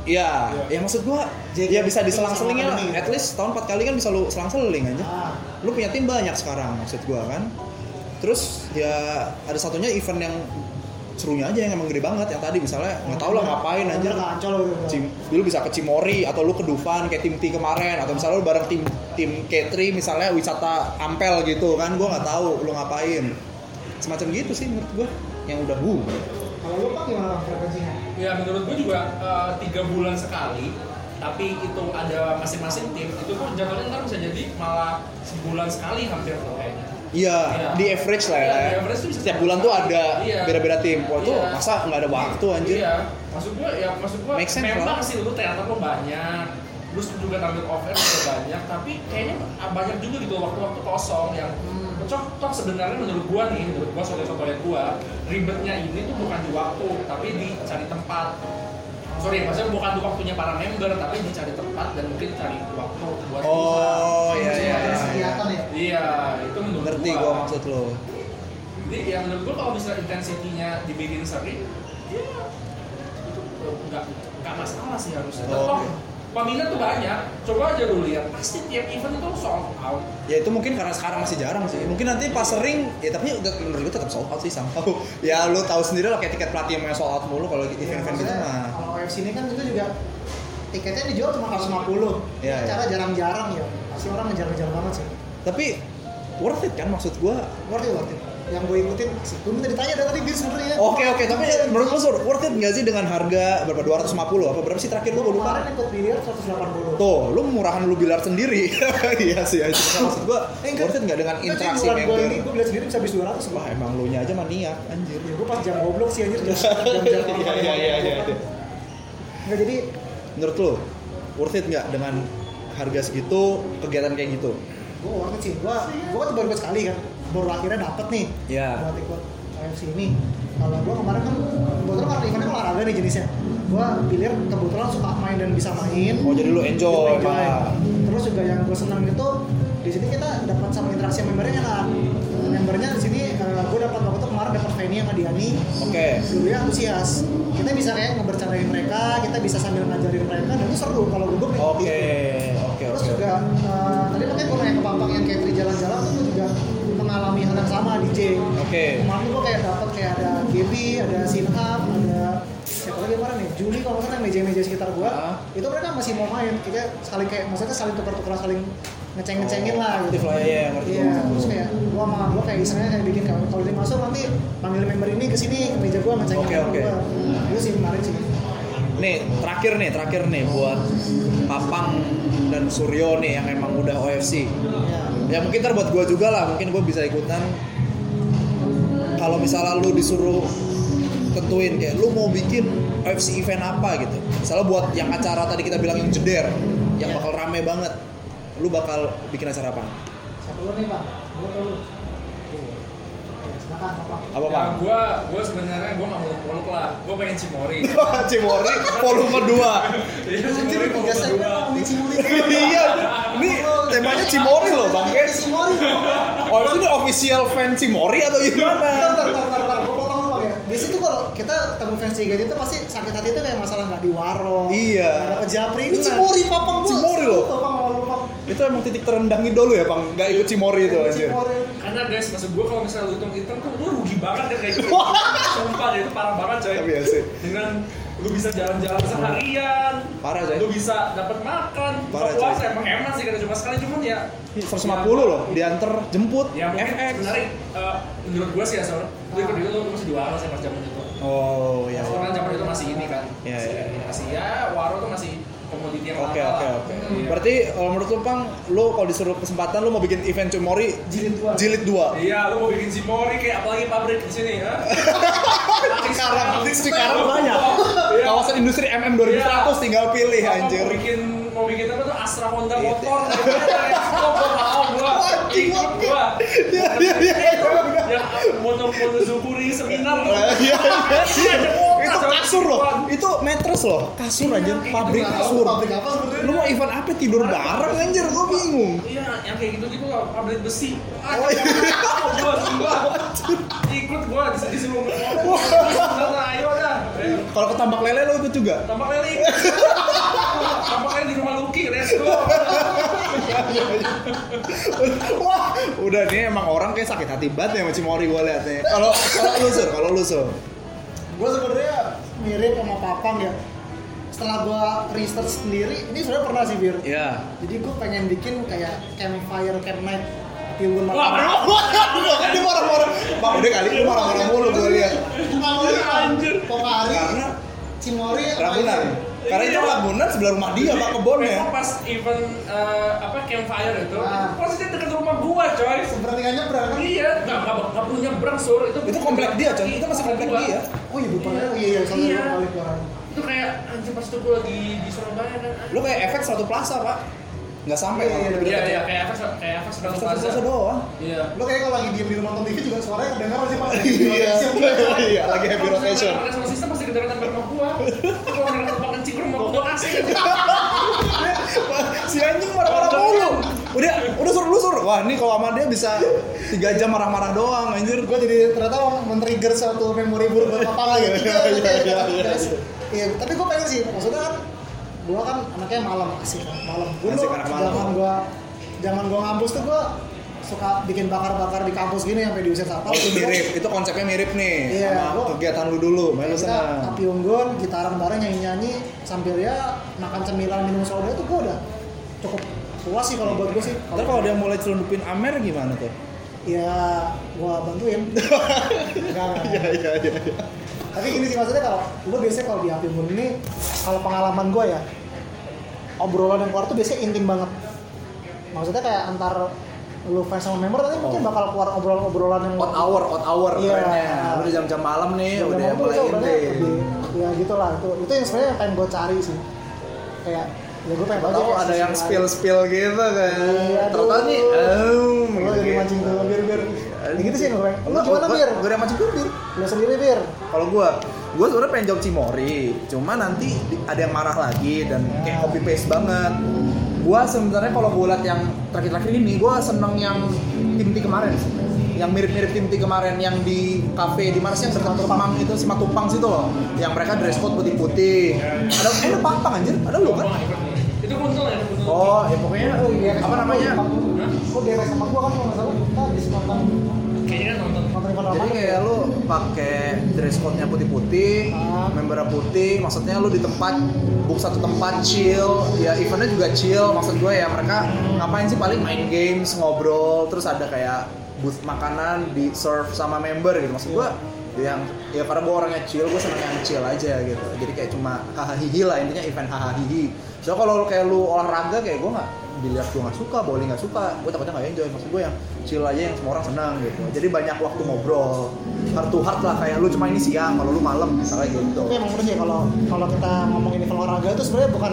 Speaker 2: Iya, ya maksud gue,
Speaker 3: JKT
Speaker 2: ya bisa diselang-selingin lah.
Speaker 3: sama gitu.
Speaker 2: At least setahun empat kali kan bisa lu selang-seling aja.
Speaker 3: Ah,
Speaker 2: Lu punya tim banyak sekarang maksud gue kan. Terus ya ada satunya event yang serunya aja yang emang gede banget yang tadi misalnya nggak tahu lah ngapain aja
Speaker 3: Ke Ancol gitu.
Speaker 2: Cim, lu bisa ke Cimori atau lu ke Dufan kayak tim T kemarin atau misalnya lu bareng tim tim K3 misalnya wisata Ampel gitu kan gua nggak tahu lu ngapain semacam gitu sih menurut gua yang udah boom
Speaker 3: Kalau lu kan gimana Bang, frekuensinya?
Speaker 1: Ya menurut gue juga eh, tiga bulan sekali, tapi itu ada masing-masing tim. Itu tuh jatuhnya ntar bisa jadi malah sebulan sekali hampir tuh kayaknya.
Speaker 2: Iya,
Speaker 1: Iya.
Speaker 2: di average lah ya.
Speaker 1: Iya,
Speaker 2: lah
Speaker 1: di
Speaker 2: ya.
Speaker 1: average tuh bisa
Speaker 2: Setiap bulan tuh ada
Speaker 1: Iya.
Speaker 2: beda-beda tim. Wah tuh
Speaker 1: Iya.
Speaker 2: masa nggak ada waktu anjir.
Speaker 1: Iya, maksud gue ya maksud gue
Speaker 2: Make sense,
Speaker 1: memang
Speaker 2: lah.
Speaker 1: sih lu ternyata lo banyak. Lu juga target offer juga banyak, tapi kayaknya banyak juga gitu waktu-waktu kosong yang
Speaker 3: Hmm.
Speaker 1: Cok, toh sebenarnya menurut gua nih, menurut gua soalnya soalnya gua ribetnya ini tuh bukan di waktu, tapi dicari tempat. Sorry, maksudnya bukan di waktunya para member, tapi dicari tempat dan mungkin cari waktu buat
Speaker 2: Oh
Speaker 1: bisa.
Speaker 2: iya iya
Speaker 3: Ada
Speaker 2: iya.
Speaker 3: kegiatan ya?
Speaker 1: Iya, itu menurut
Speaker 2: Ngerti
Speaker 1: gua.
Speaker 2: gua maksud lo.
Speaker 1: Jadi ya menurut gua kalau misalnya intensitinya dibikin sering, ya itu eh, nggak nggak masalah sih harusnya.
Speaker 2: Oh,
Speaker 1: Toh,
Speaker 2: oke.
Speaker 1: peminat tuh banyak. Coba aja lu lihat, pasti tiap event itu sold out.
Speaker 2: Ya itu mungkin karena sekarang masih jarang sih. Mungkin nanti pas sering, ya tapi udah menurut gue tetap sold out sih somehow. Ya lu tahu sendiri lah kayak tiket platinum yang sold out mulu kalau
Speaker 3: Ya,
Speaker 2: event-event gitu
Speaker 3: maksudnya
Speaker 2: mah.
Speaker 3: Kalau OFC ini kan itu juga tiketnya dijual cuma 150.
Speaker 2: Iya, iya.
Speaker 3: Cara jarang-jarang ya. Pasti orang ngejar-ngejar banget sih.
Speaker 2: Tapi worth it kan maksud gua.
Speaker 3: Worth it, worth it. Yang gue ikutin sih. Gue minta ditanya dari tadi bir sebenarnya.
Speaker 2: Oke oke, tapi menurut lu Sur, worth it nggak sih dengan harga berapa 250 apa berapa sih terakhir lu gua lupa?
Speaker 3: kemarin ikut biliar 180.
Speaker 2: Tuh, lu murahan lu bilar sendiri. iya sih, iya sih. maksud gua
Speaker 3: Eh, enggak.
Speaker 2: worth it nggak dengan
Speaker 3: Enggak, cuy,
Speaker 2: interaksi
Speaker 3: bulan gue ini
Speaker 2: member?
Speaker 3: gue beli sendiri bisa habis 200
Speaker 2: Wah,
Speaker 3: gua.
Speaker 2: emang lu nya aja maniak anjir.
Speaker 3: Ya gue pas jam goblok sih anjir jam
Speaker 2: Iya, iya,
Speaker 3: jam
Speaker 2: iya, iya, iya.
Speaker 3: Enggak jadi
Speaker 2: Menurut lu worth it nggak dengan harga segitu kegiatan kayak gitu?
Speaker 3: gue worth it sih. Gue gue kan baru ikut sekali kan. Baru akhirnya dapet nih.
Speaker 2: Iya.
Speaker 3: Buat ikut AFC ini. Kalau gue kemarin kan kebetulan karena eventnya kan olahraga nih jenisnya. Gue biliar kebetulan suka main dan bisa main.
Speaker 2: Oh, jadi lu enjoy,
Speaker 3: Enjoy.
Speaker 2: malah.
Speaker 3: Terus juga yang gue senang itu di sini kita dapat sama interaksi membernya enak. Membernya di sini gue dapat waktu itu kemarin dapat Feni sama Diani.
Speaker 2: Oke.
Speaker 3: dulunya antusias kita bisa kayak ngebercandain mereka kita bisa sambil ngajarin mereka dan itu seru kalau gue gue
Speaker 2: Oke, oke,
Speaker 3: terus
Speaker 2: oke.
Speaker 3: juga eh, tadi makanya gue nanya ke Bambang yang kayak Tri jalan-jalan tuh gue juga mengalami hal yang sama DJ
Speaker 2: Oke.
Speaker 3: kemarin gue kayak dapet kayak ada Gaby ada Sinham ada siapa lagi kemarin nih Juli kalau nggak salah yang meja-meja sekitar gue
Speaker 2: Ah.
Speaker 3: itu mereka masih mau main kita saling kayak maksudnya saling tukar-tukar saling ngeceng-ngecengin lah
Speaker 2: Aktif
Speaker 3: gitu
Speaker 2: lah ya, ngerti.
Speaker 3: Iya, terus kayak gua sama gua kayak istilahnya kayak bikin kalau kalau dia masuk nanti panggil member ini ke sini ke meja gua ngecengin
Speaker 2: Oke,
Speaker 3: member
Speaker 2: oke.
Speaker 3: gua. Nah, Itu sih menarik sih.
Speaker 2: Nih, terakhir nih, terakhir nih buat Papang dan Suryo nih yang emang udah OFC.
Speaker 3: Iya.
Speaker 2: Ya mungkin ntar buat gue juga lah, mungkin gue bisa ikutan. Kalau misalnya lu disuruh tentuin kayak lu mau bikin OFC event apa gitu. Misalnya buat yang acara tadi kita bilang yang jeder, yang
Speaker 3: Iya.
Speaker 2: bakal rame banget. Lu bakal bikin acara apa?
Speaker 3: Siapa lu nih, Pak? Gua atau lu? Oke, Silakan, Pak.
Speaker 2: Apa,
Speaker 1: Ya,
Speaker 2: Pak?
Speaker 1: gua gua sebenarnya gua nggak muluk-muluk lah. Gua pengen Cimori.
Speaker 2: Cimori volume 2.
Speaker 1: Jadi
Speaker 3: Anjir,
Speaker 1: Cimori
Speaker 3: tiga
Speaker 1: volume
Speaker 3: segmen
Speaker 1: dua.
Speaker 3: mau ngisi mulu.
Speaker 2: iya, ini temanya Cimori loh bang.
Speaker 3: Kayak ngisi mulu.
Speaker 2: Oh itu ini official fan Cimori atau
Speaker 3: Bentar,
Speaker 2: gimana?
Speaker 3: bentar, bentar, bentar. Gua potong dulu, Pak, ya. Biasanya tuh kalau kita ketemu fans CGT itu pasti sakit hati itu kayak masalah nggak di warung.
Speaker 2: Iya.
Speaker 3: nggak Dapet japri.
Speaker 2: Ini Cimori, Papang, gua.
Speaker 3: Cimori loh.
Speaker 2: Papang,
Speaker 3: lupa.
Speaker 2: Itu emang titik terendah dulu ya bang, nggak ikut Cimori itu anjir.
Speaker 3: Cimori.
Speaker 1: Karena guys, maksud gua kalau misalnya lu hitung-hitung tuh lu rugi banget ya kayak gitu. Sumpah deh, itu parah banget coy.
Speaker 2: Tapi ya sih.
Speaker 1: Dengan lu bisa jalan-jalan seharian.
Speaker 2: Parah, coy.
Speaker 1: Lu bisa dapat makan. buka
Speaker 2: Parah, coy.
Speaker 1: puasa emang hemat sih karena cuma sekali cuman ya.
Speaker 2: 150 loh, diantar, jemput,
Speaker 1: Ya mungkin
Speaker 2: FX.
Speaker 1: sebenarnya eh, menurut gua sih ya, Sor. Lu ikut itu lu masih dua sih pas zaman itu.
Speaker 2: Oh ya.
Speaker 1: Ya, Soalnya zaman itu masih ini kan.
Speaker 2: Iya,
Speaker 1: Masih-
Speaker 2: iya.
Speaker 1: Masih ya, waro tuh masih komoditi yang lama
Speaker 2: Oke oke
Speaker 1: lah.
Speaker 2: oke.
Speaker 1: Iya.
Speaker 2: Berarti kalau menurut lu bang, lu kalau disuruh kesempatan lu mau bikin event Cimori
Speaker 3: Jilid dua.
Speaker 2: jilid 2
Speaker 1: Iya, lu mau bikin Cimori kayak apalagi pabrik di sini, ha?
Speaker 2: Cikarang, di Cikarang banyak.
Speaker 1: Iya.
Speaker 2: Kawasan industri MM 2100 tinggal pilih
Speaker 1: Apa,
Speaker 2: anjir.
Speaker 1: Mau bikin mau bikin apa tuh Astra Honda
Speaker 2: Iya.
Speaker 1: motor. Gua mau gua.
Speaker 2: Anjing,
Speaker 1: Ikut gua.
Speaker 2: Iya iya iya.
Speaker 1: Ya motor-motor Zuburi seminar tuh.
Speaker 2: Iya, iya. itu
Speaker 1: Coy.
Speaker 2: kasur loh itu mattress loh kasur
Speaker 1: Iya,
Speaker 2: anjir pabrik
Speaker 1: gitu.
Speaker 3: Nggak Nah, tahu
Speaker 2: kasur
Speaker 3: Pabrik apa sebenarnya?
Speaker 2: lu mau event apa tidur bareng anjir gua bingung
Speaker 1: Iya, yang kayak gitu-gitu loh, pabrik besi. Ah,
Speaker 2: Oh, iya.
Speaker 1: mau gua, gua. Ikut gua di sini semua. Ayo dah. Ayo.
Speaker 2: kalau ketambak lele lu ikut juga
Speaker 1: Tampak lele. Tampak lele di rumah Luki, let's go.
Speaker 2: wah udah nih emang orang kayak sakit hati banget ya sama Cimori gua liatnya kalau kalau lu sur kalau lu sur
Speaker 3: gue sebenarnya mirip sama Papang ya setelah gue research sendiri ini sebenarnya pernah sih Bir
Speaker 2: ya
Speaker 3: jadi gue pengen bikin kayak campfire camp night timbun
Speaker 1: Wah,
Speaker 3: malam
Speaker 2: Wah, kan dia marah-marah. Bang, udah kali ini marah-marah mulu gua lihat.
Speaker 3: Malam
Speaker 1: Anjir.
Speaker 3: Cimory apa
Speaker 2: Ragunan.
Speaker 3: itu?
Speaker 2: Karena itu Ragunan sebelah rumah dia, Pak Kebon ya.
Speaker 1: Memang pas event eh, apa campfire itu,
Speaker 3: Ah.
Speaker 1: itu posisinya dekat rumah gua, coy.
Speaker 3: Sepertinya nyebrang kan?
Speaker 1: Iya, nggak nggak nggak punya brang sur itu.
Speaker 2: Itu komplek dia, coy. Itu masih komplek
Speaker 1: Gua.
Speaker 2: dia.
Speaker 3: Oh iya, bukan. Oh iya, iya, sampai
Speaker 1: Iya.
Speaker 3: dua kali keluar.
Speaker 1: Itu kayak anjir pas itu gua lagi di Surabaya kan.
Speaker 2: Lu kayak efek satu plaza, Pak. Nggak sampai.
Speaker 3: Iya, iya,
Speaker 1: Iya,
Speaker 2: Pak.
Speaker 1: iya kayak apa kayak apa sedang
Speaker 2: Satu
Speaker 1: plaza.
Speaker 2: plaza doang.
Speaker 1: Iya.
Speaker 3: Lo kayak kalau lagi diem di rumah nonton TV juga suaranya kedengeran sih pak.
Speaker 2: Iya. Iya, lagi happy
Speaker 1: Kalau misalnya
Speaker 2: rotation.
Speaker 1: Karena sama sistem pasti kedengeran sampai rumah gua. Kalau orang tempat kencing ke rumah gua asik.
Speaker 2: si anjing marah-marah mulu udah udah suruh lusur wah ini kalau sama dia bisa tiga jam marah-marah doang anjir
Speaker 3: Gue jadi ternyata men-trigger suatu memori buruk buat papa
Speaker 2: Iya,
Speaker 3: lagi.
Speaker 2: iya, iya, iya.
Speaker 3: Iya, tapi gue pengen sih. Maksudnya kan, gue kan anaknya malam asik kan, malam. Gue
Speaker 2: Asik
Speaker 3: dulu
Speaker 2: anak malam.
Speaker 3: zaman gue zaman gue ngampus tuh gue suka bikin bakar-bakar di kampus gini sampai diusir satpam.
Speaker 2: Oh, itu mirip, itu konsepnya mirip nih
Speaker 3: Iya,
Speaker 2: sama
Speaker 3: gua-
Speaker 2: kegiatan lu dulu, main lu
Speaker 3: Kita
Speaker 2: sana.
Speaker 3: api unggun, gitaran bareng, nyanyi-nyanyi sambil ya makan cemilan, minum soda itu gue udah cukup puas sih kalau buat gue sih.
Speaker 2: Ntar kalau dia mulai celundupin Amer gimana tuh?
Speaker 3: ya gue bantuin. Enggak, enggak.
Speaker 2: iya iya.
Speaker 3: tapi gini sih maksudnya kalau gue biasanya kalau di api unggun ini kalau pengalaman gue ya obrolan yang keluar tuh biasanya intim banget maksudnya kayak antar lu fans sama member nanti mungkin
Speaker 2: Oh.
Speaker 3: bakal keluar obrolan-obrolan yang
Speaker 2: Out hour, out hour
Speaker 3: Iya.
Speaker 2: kerennya. Udah jam-jam malam nih, Ya
Speaker 3: yang
Speaker 2: udah
Speaker 3: ngomong tuh
Speaker 2: mulai
Speaker 3: obrolannya
Speaker 2: intim.
Speaker 3: lebih- ya gitulah itu itu yang sebenarnya yang pengen gue cari sih kayak ya gue pengen
Speaker 2: Tahu
Speaker 3: kayak
Speaker 2: ada yang
Speaker 3: sisi
Speaker 2: spill
Speaker 3: lain.
Speaker 2: spill gitu kan.
Speaker 3: Iya,
Speaker 2: Ternyata
Speaker 3: aduh.
Speaker 2: nih, oh,
Speaker 3: Lu jadi mancing tuh bir bir ya gitu sih yang gue pengen. lu gimana bir
Speaker 2: Gue udah mancing dulu, Bir.
Speaker 3: lu sendiri bir
Speaker 2: kalau gue gue sebenarnya pengen jawab Cimori cuma nanti di- ada yang marah lagi dan kayak copy paste banget gue sebenarnya kalau gue liat yang terakhir-terakhir ini gue seneng yang Timti kemarin yang mirip-mirip Timti kemarin yang di cafe di mana sih yang dekat Kemang itu Simatupang situ loh yang mereka dress code putih-putih ada ada pampang anjir ada lu kan
Speaker 1: Itu kuntul ya, kuntul.
Speaker 2: oh ya pokoknya apa namanya
Speaker 3: kok dia sama gue kan kalau nggak salah kita habis nonton
Speaker 1: Kayaknya kan nonton.
Speaker 3: nonton
Speaker 2: Jadi
Speaker 3: ekonomi
Speaker 2: kayak lu pakai dress code-nya putih-putih,
Speaker 3: Ah.
Speaker 2: membernya putih, maksudnya lu di tempat book satu tempat chill, ya eventnya juga chill, maksud gue ya mereka ngapain sih paling main games, ngobrol, terus ada kayak booth makanan di serve sama member gitu, maksud gue yang ya karena gue orangnya chill, gue seneng yang chill aja gitu, jadi kayak cuma hahaha lah intinya event hahaha. So kalau lu- kayak lu olahraga kayak gue nggak biliar gue nggak suka, bowling nggak suka, gue takutnya nggak enjoy. Maksud gue yang chill aja yang semua orang senang gitu. Jadi banyak waktu ngobrol, heart to heart lah kayak lu cuma ini siang, kalau lu malam misalnya gitu.
Speaker 3: Tapi emang bener sih kalau kalau kita ngomongin event olahraga itu sebenarnya bukan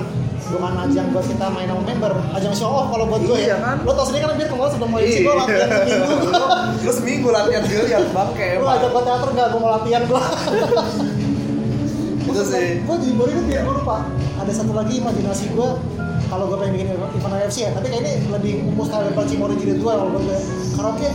Speaker 3: bukan ajang buat kita main sama member, ajang show off kalau buat gue
Speaker 2: Iya
Speaker 3: ya.
Speaker 2: kan? Iya.
Speaker 3: Lo tau sendiri kan biar kemarin sebelum mau isi gue latihan seminggu.
Speaker 2: Terus minggu latihan biliar bang kayak
Speaker 3: Lo ajak gue teater nggak? Gue mau latihan gue.
Speaker 2: Itu sih.
Speaker 3: Gue di Bori itu biar gue lupa. Ada satu lagi imajinasi gue kalau gue pengen bikin event AFC ya, tapi kayaknya lebih umum style daripada Cimori jilid 2 kalau buat gue karaoke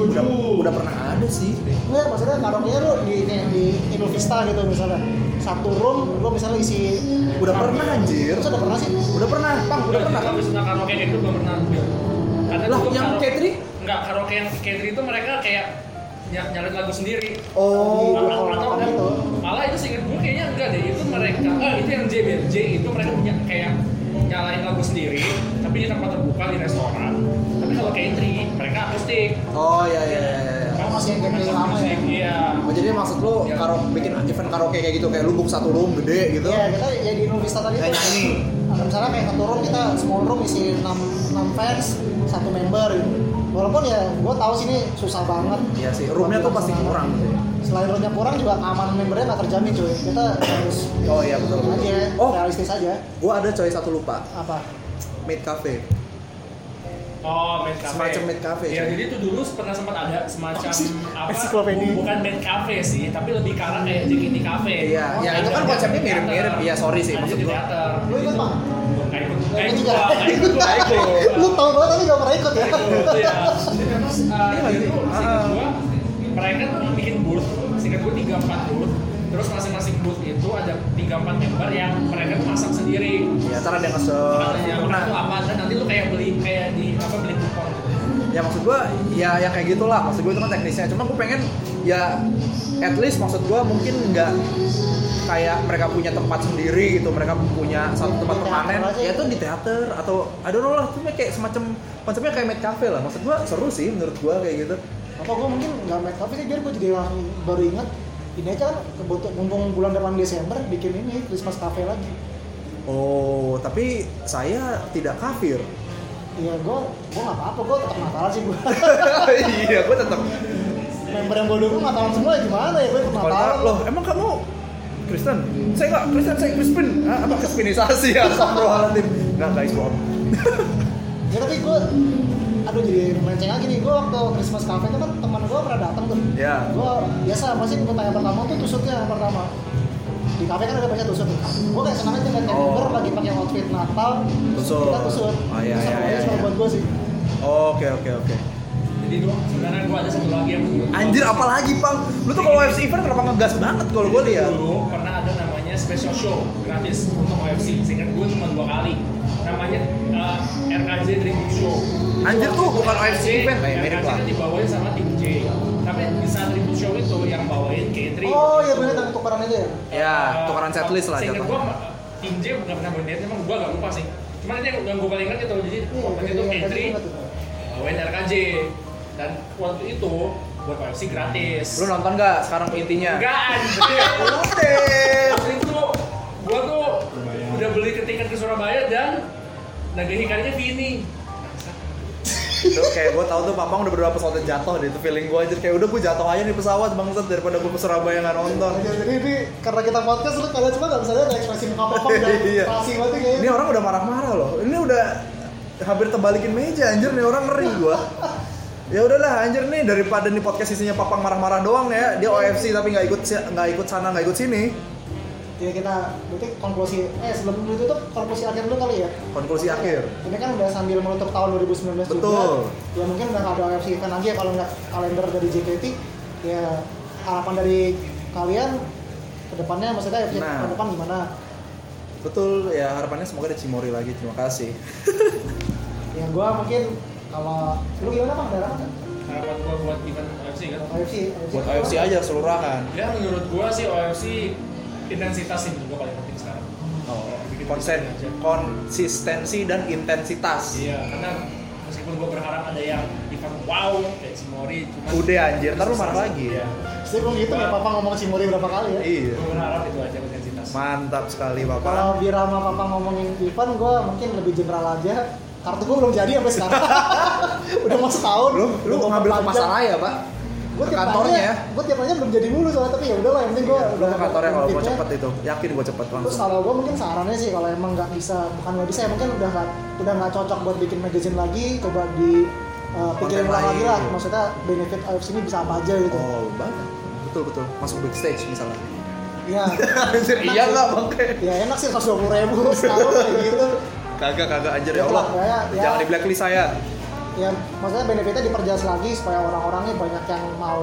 Speaker 2: Udah, udah pernah ada sih.
Speaker 3: Enggak, maksudnya karaoke lu di kayak di Indo Vista gitu misalnya satu room, lu misalnya isi
Speaker 2: Udah pernah anjir.
Speaker 3: Terus udah pernah sih?
Speaker 2: Udah pernah, Bang, udah pernah. kan?
Speaker 1: Tapi sudah karaoke kayak gitu belum pernah. Karena
Speaker 2: Lah,
Speaker 1: dulu
Speaker 2: yang
Speaker 1: karaoke-
Speaker 2: catering?
Speaker 1: Enggak, karaoke yang catering itu mereka kayak ny- nyalain lagu sendiri.
Speaker 2: Oh,
Speaker 1: Malah-
Speaker 3: kalau
Speaker 1: atau
Speaker 3: makan gitu.
Speaker 1: malah itu seinget gue kayaknya enggak deh itu mereka ah itu yang J Bill. J itu mereka punya kayak nyalain lagu sendiri tapi di tempat terbuka di restoran tapi kalau catering mereka akustik
Speaker 2: Oh iya iya iya. iya.
Speaker 3: Oh, masih yang catering lama ya?
Speaker 1: iya
Speaker 2: Oh, jadi maksud lu karo bikin event karaoke kayak gitu kayak lu book satu room gede gitu.
Speaker 3: Iya, kita ya di Indo Vista tadi
Speaker 2: Kayak nyanyi.
Speaker 3: Nah, misalnya kayak satu room kita small room isi 6, 6 fans, satu member gitu. Walaupun ya gue tahu sih ini susah banget.
Speaker 2: Iya sih, roomnya tuh pasti kurang sih.
Speaker 3: Selain roomnya kurang juga keamanan membernya nggak terjamin cuy. Kita harus
Speaker 2: Oh iya betul. betul.
Speaker 3: aja
Speaker 2: Oh,
Speaker 3: realistis aja.
Speaker 2: gua ada coy satu lupa.
Speaker 3: Apa?
Speaker 2: Made Cafe.
Speaker 1: Oh, med cafe.
Speaker 2: Semacam med cafe, Oh,
Speaker 1: Ya,
Speaker 2: coy.
Speaker 1: jadi itu dulu pernah sempat ada semacam apa?
Speaker 3: Ensiklopedia.
Speaker 1: Bukan med cafe sih, tapi lebih ke arah kayak JKT cafe. Oh,
Speaker 2: Iya, ya, itu kan konsepnya mirip-mirip. Iya, sorry sih, maksud
Speaker 1: maksud
Speaker 2: gua.
Speaker 1: Teater.
Speaker 3: Lu ikut pak?
Speaker 1: Kayak ikut,
Speaker 3: Lu
Speaker 1: kayak ikut
Speaker 3: juga?
Speaker 1: gua, kayak ikut gua, kayak ikut
Speaker 3: Lu
Speaker 1: gua.
Speaker 3: tau banget tapi gak pernah ikut ya?
Speaker 1: Gitu, ya. Jadi memang uh,
Speaker 2: Iya,
Speaker 1: itu
Speaker 2: iya.
Speaker 1: seingat gua, mereka tuh bikin booth, singkat gua tiga empat booth. Terus masing-masing booth itu ada tiga empat member yang mereka tuh masak sendiri.
Speaker 2: Ya, ntar ada yang nge-serve.
Speaker 3: Iya.
Speaker 1: Makanannya apa,
Speaker 2: Nah,
Speaker 1: tuh apa, dan nanti lu kayak beli kayak di apa beli kupon gitu.
Speaker 2: ya maksud gua ya yang kayak gitulah. Maksud gua itu kan teknisnya. Cuma gua pengen ya at least maksud gua mungkin nggak kayak mereka punya tempat sendiri gitu mereka punya satu
Speaker 3: Di
Speaker 2: tempat
Speaker 3: teater
Speaker 2: permanen
Speaker 3: aja.
Speaker 2: ya itu di teater atau I don't know lah cuma kayak semacam konsepnya kayak med cafe lah maksud gua seru sih menurut gua kayak gitu
Speaker 3: Apa gue mungkin gak make up sih biar gue jadi orang baru inget ini aja kan kebetul- mumpung bulan depan Desember bikin ini Christmas cafe lagi
Speaker 2: Oh, tapi saya tidak kafir.
Speaker 3: Iya, gue gue nggak apa-apa, gue tetap Natalan sih gue.
Speaker 2: iya, gue tetap.
Speaker 3: Member yang gue dukung Natalan semua ya gimana ya gue tetap Natalan
Speaker 2: Kalau loh, emang kamu Kristen? Saya nggak Kristen, saya Crispin. Ah, apa Crispinisasi ya? Astagfirullahaladzim. Nggak guys, bohong.
Speaker 3: Ya tapi gue, aduh jadi melenceng lagi nih. Gue waktu Christmas cafe itu kan teman gue pernah datang tuh.
Speaker 2: Iya.
Speaker 3: Gue biasa pasti pertanyaan pertama tuh tusuknya yang pertama. Di cafe kan ada banyak tusuk. Gue kayak senang aja liat kayak
Speaker 2: Oh.
Speaker 3: member lagi pakai outfit Natal. terus
Speaker 2: Tusuk.
Speaker 3: Kita tusuk.
Speaker 2: Oh, iya, iya, iya,
Speaker 3: Sama
Speaker 2: iya.
Speaker 3: buat gue sih.
Speaker 2: Oke, oke, oke.
Speaker 1: Jadi itu sebenarnya gue ada satu lagi yang
Speaker 2: Anjir, apalagi pang? Lu tuh kalau UFC event kenapa ngegas banget kalau gue lihat?
Speaker 1: Dulu pernah ada namanya special show gratis untuk OFC. Singkat gue cuma dua kali. Namanya uh, RKJ Drinking Show.
Speaker 2: Anjir tuh bukan
Speaker 1: OFC
Speaker 2: UFC event, kayak mirip lah.
Speaker 1: RKJ kan dibawain sama tim J. Tapi di saat Drinking Show itu yang bawain catering.
Speaker 3: Oh iya bener tentang tukaran itu ya.
Speaker 2: Ya, tukaran setlist lah
Speaker 1: Seingat
Speaker 2: jatuhnya.
Speaker 1: gua tim J bukan pernah berniatnya, emang gua agak lupa sih. Cuman ini yang gue paling ingat itu
Speaker 2: Oh,
Speaker 1: jadi
Speaker 3: Iya,
Speaker 1: waktu
Speaker 3: iya,
Speaker 1: itu
Speaker 3: iya,
Speaker 1: entry
Speaker 3: iya, iya.
Speaker 1: bawain RKJ dan waktu itu buat OFC gratis.
Speaker 2: Lu nonton nggak sekarang intinya?
Speaker 1: Enggak anjir.
Speaker 2: Nonton.
Speaker 1: Waktu itu gua tuh udah beli ketikan ke Surabaya dan naga hikarnya Vini.
Speaker 2: Terus kayak gue tau tuh Papang udah berapa pesawat jatuh deh itu feeling gue aja kayak udah gue jatuh aja di pesawat bangsat daripada gue ke Surabaya nggak nonton.
Speaker 3: Aja, Iya, Jadi ini karena kita podcast lu kalian cuma nggak bisa lihat ekspresi muka apa dan
Speaker 2: Iya.
Speaker 3: passing banget nih
Speaker 2: Ini
Speaker 3: kayaknya.
Speaker 2: orang udah marah-marah loh. Ini udah hampir terbalikin meja anjir nih orang ngeri gue. Ya udahlah anjir nih daripada nih podcast isinya Papang marah-marah doang ya. Dia OFC tapi nggak ikut si- nggak ikut sana nggak ikut sini.
Speaker 3: Ya kita berarti konklusi eh sebelum dulu tuh konklusi akhir dulu kali ya.
Speaker 2: Konklusi akhir.
Speaker 3: Ini kan udah sambil menutup tahun 2019 juga.
Speaker 2: Betul.
Speaker 3: Ya mungkin udah nggak ada OFC event lagi ya kalau nggak kalender dari JKT. Ya harapan dari kalian ke depannya maksudnya OFC
Speaker 2: Nah.
Speaker 3: ke depan gimana?
Speaker 2: Betul ya harapannya semoga ada Cimori lagi. Terima kasih.
Speaker 3: Ya gua mungkin kalau lu gimana Bang? Darah kan?
Speaker 1: Harapan gua buat event OFC kan.
Speaker 3: OFC,
Speaker 2: Buat
Speaker 3: kan?
Speaker 2: OFC aja seluruhan.
Speaker 1: Ya menurut gua sih OFC intensitas sih menurut gua paling penting sekarang.
Speaker 2: Oh, konsen, konsistensi dan intensitas.
Speaker 1: Iya, karena meskipun gua berharap ada yang event wow kayak Simori cuma
Speaker 2: Udah anjir, ntar lu marah lagi.
Speaker 1: Iya.
Speaker 3: Saya belum gitu ya Papa ngomong Cimori berapa kali ya.
Speaker 2: Iya.
Speaker 1: Gua berharap itu aja intensitas.
Speaker 2: Mantap sekali Bapak.
Speaker 3: Kalau Birama Papa ngomongin event, gue mungkin lebih general aja. Kartu gue belum jadi sampai sekarang. Udah mau setahun.
Speaker 2: Lu lu mau ngambil ke masalah ya, Pak?
Speaker 3: Gue
Speaker 2: Ke
Speaker 3: tiap
Speaker 2: kantornya ya. Iya,
Speaker 3: Gue tiap nanya belum jadi mulu soalnya tapi ya udahlah yang penting gue
Speaker 2: Lu ke kantornya kalau gua cepet itu. Yakin gua cepet
Speaker 3: Terus
Speaker 2: langsung.
Speaker 3: kalau gue mungkin sarannya sih kalau emang nggak bisa, bukan nggak bisa ya mungkin udah nggak udah nggak cocok buat bikin magazine lagi, coba di uh,
Speaker 2: Konten
Speaker 3: pikirin ulang lagi lah.
Speaker 2: lain.
Speaker 3: Maksudnya benefit AFC ini bisa apa aja gitu.
Speaker 2: Oh, banget. Betul betul. Masuk backstage misalnya.
Speaker 3: Iya.
Speaker 2: anjir, iya nggak bangke.
Speaker 3: ya enak sih 120 ribu setahun kayak gitu.
Speaker 2: Kagak kagak anjir ya Allah.
Speaker 3: Ya, ya.
Speaker 2: Jangan di blacklist saya.
Speaker 3: ya maksudnya benefitnya diperjelas lagi supaya orang-orangnya banyak yang mau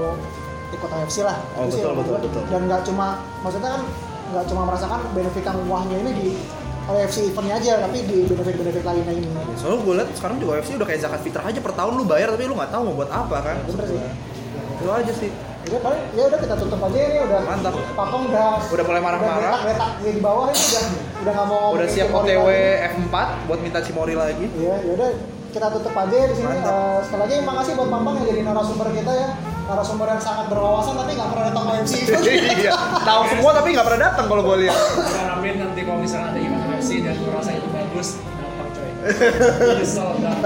Speaker 3: ikut AFC lah
Speaker 2: Oh,
Speaker 3: Itu sih
Speaker 2: betul,
Speaker 3: menurut
Speaker 2: betul,
Speaker 3: gua.
Speaker 2: betul.
Speaker 3: dan nggak cuma maksudnya kan nggak cuma merasakan benefit yang wahnya ini di AFC eventnya aja tapi di benefit-benefit lainnya ini
Speaker 2: Soalnya gue liat sekarang juga UFC udah kayak zakat fitrah aja per tahun lu bayar tapi lu nggak tahu mau buat apa kan.
Speaker 3: bener sih
Speaker 2: Itu aja sih.
Speaker 3: jadi paling ya udah kita tutup aja ini udah
Speaker 2: Mantap.
Speaker 3: Papang udah
Speaker 2: Udah mulai marah-marah.
Speaker 3: udah geletak-geletak di bawah ini udah udah nggak mau
Speaker 2: Udah
Speaker 3: ngomongin
Speaker 2: siap
Speaker 3: teori
Speaker 2: OTW
Speaker 3: lagi.
Speaker 2: F4 buat minta Cimori lagi.
Speaker 3: Iya, yaudah kita tutup aja di sini.
Speaker 2: Mantap.
Speaker 3: Eh, sekali lagi makasih buat Bambang yang jadi narasumber kita ya. Narasumber yang sangat berwawasan tapi nggak pernah datang ke MC.
Speaker 2: iya. Tahu semua tapi nggak pernah datang kalau gue lihat.
Speaker 1: Kita harapin nanti kalau misalnya ada event OFC dan lu rasa itu bagus, gampang coy. Nyesel banget.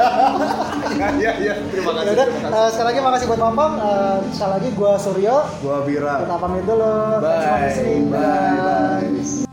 Speaker 2: Iya iya. Terima kasih.
Speaker 3: Yaudah,
Speaker 2: terima
Speaker 3: eh,
Speaker 2: kasih.
Speaker 3: sekali lagi makasih buat Bambang. Eh, sekali lagi gua Suryo.
Speaker 2: Gua Bira.
Speaker 3: Kita pamit dulu. Thanks for
Speaker 2: Bye.
Speaker 3: listening.
Speaker 2: Bye. Bye.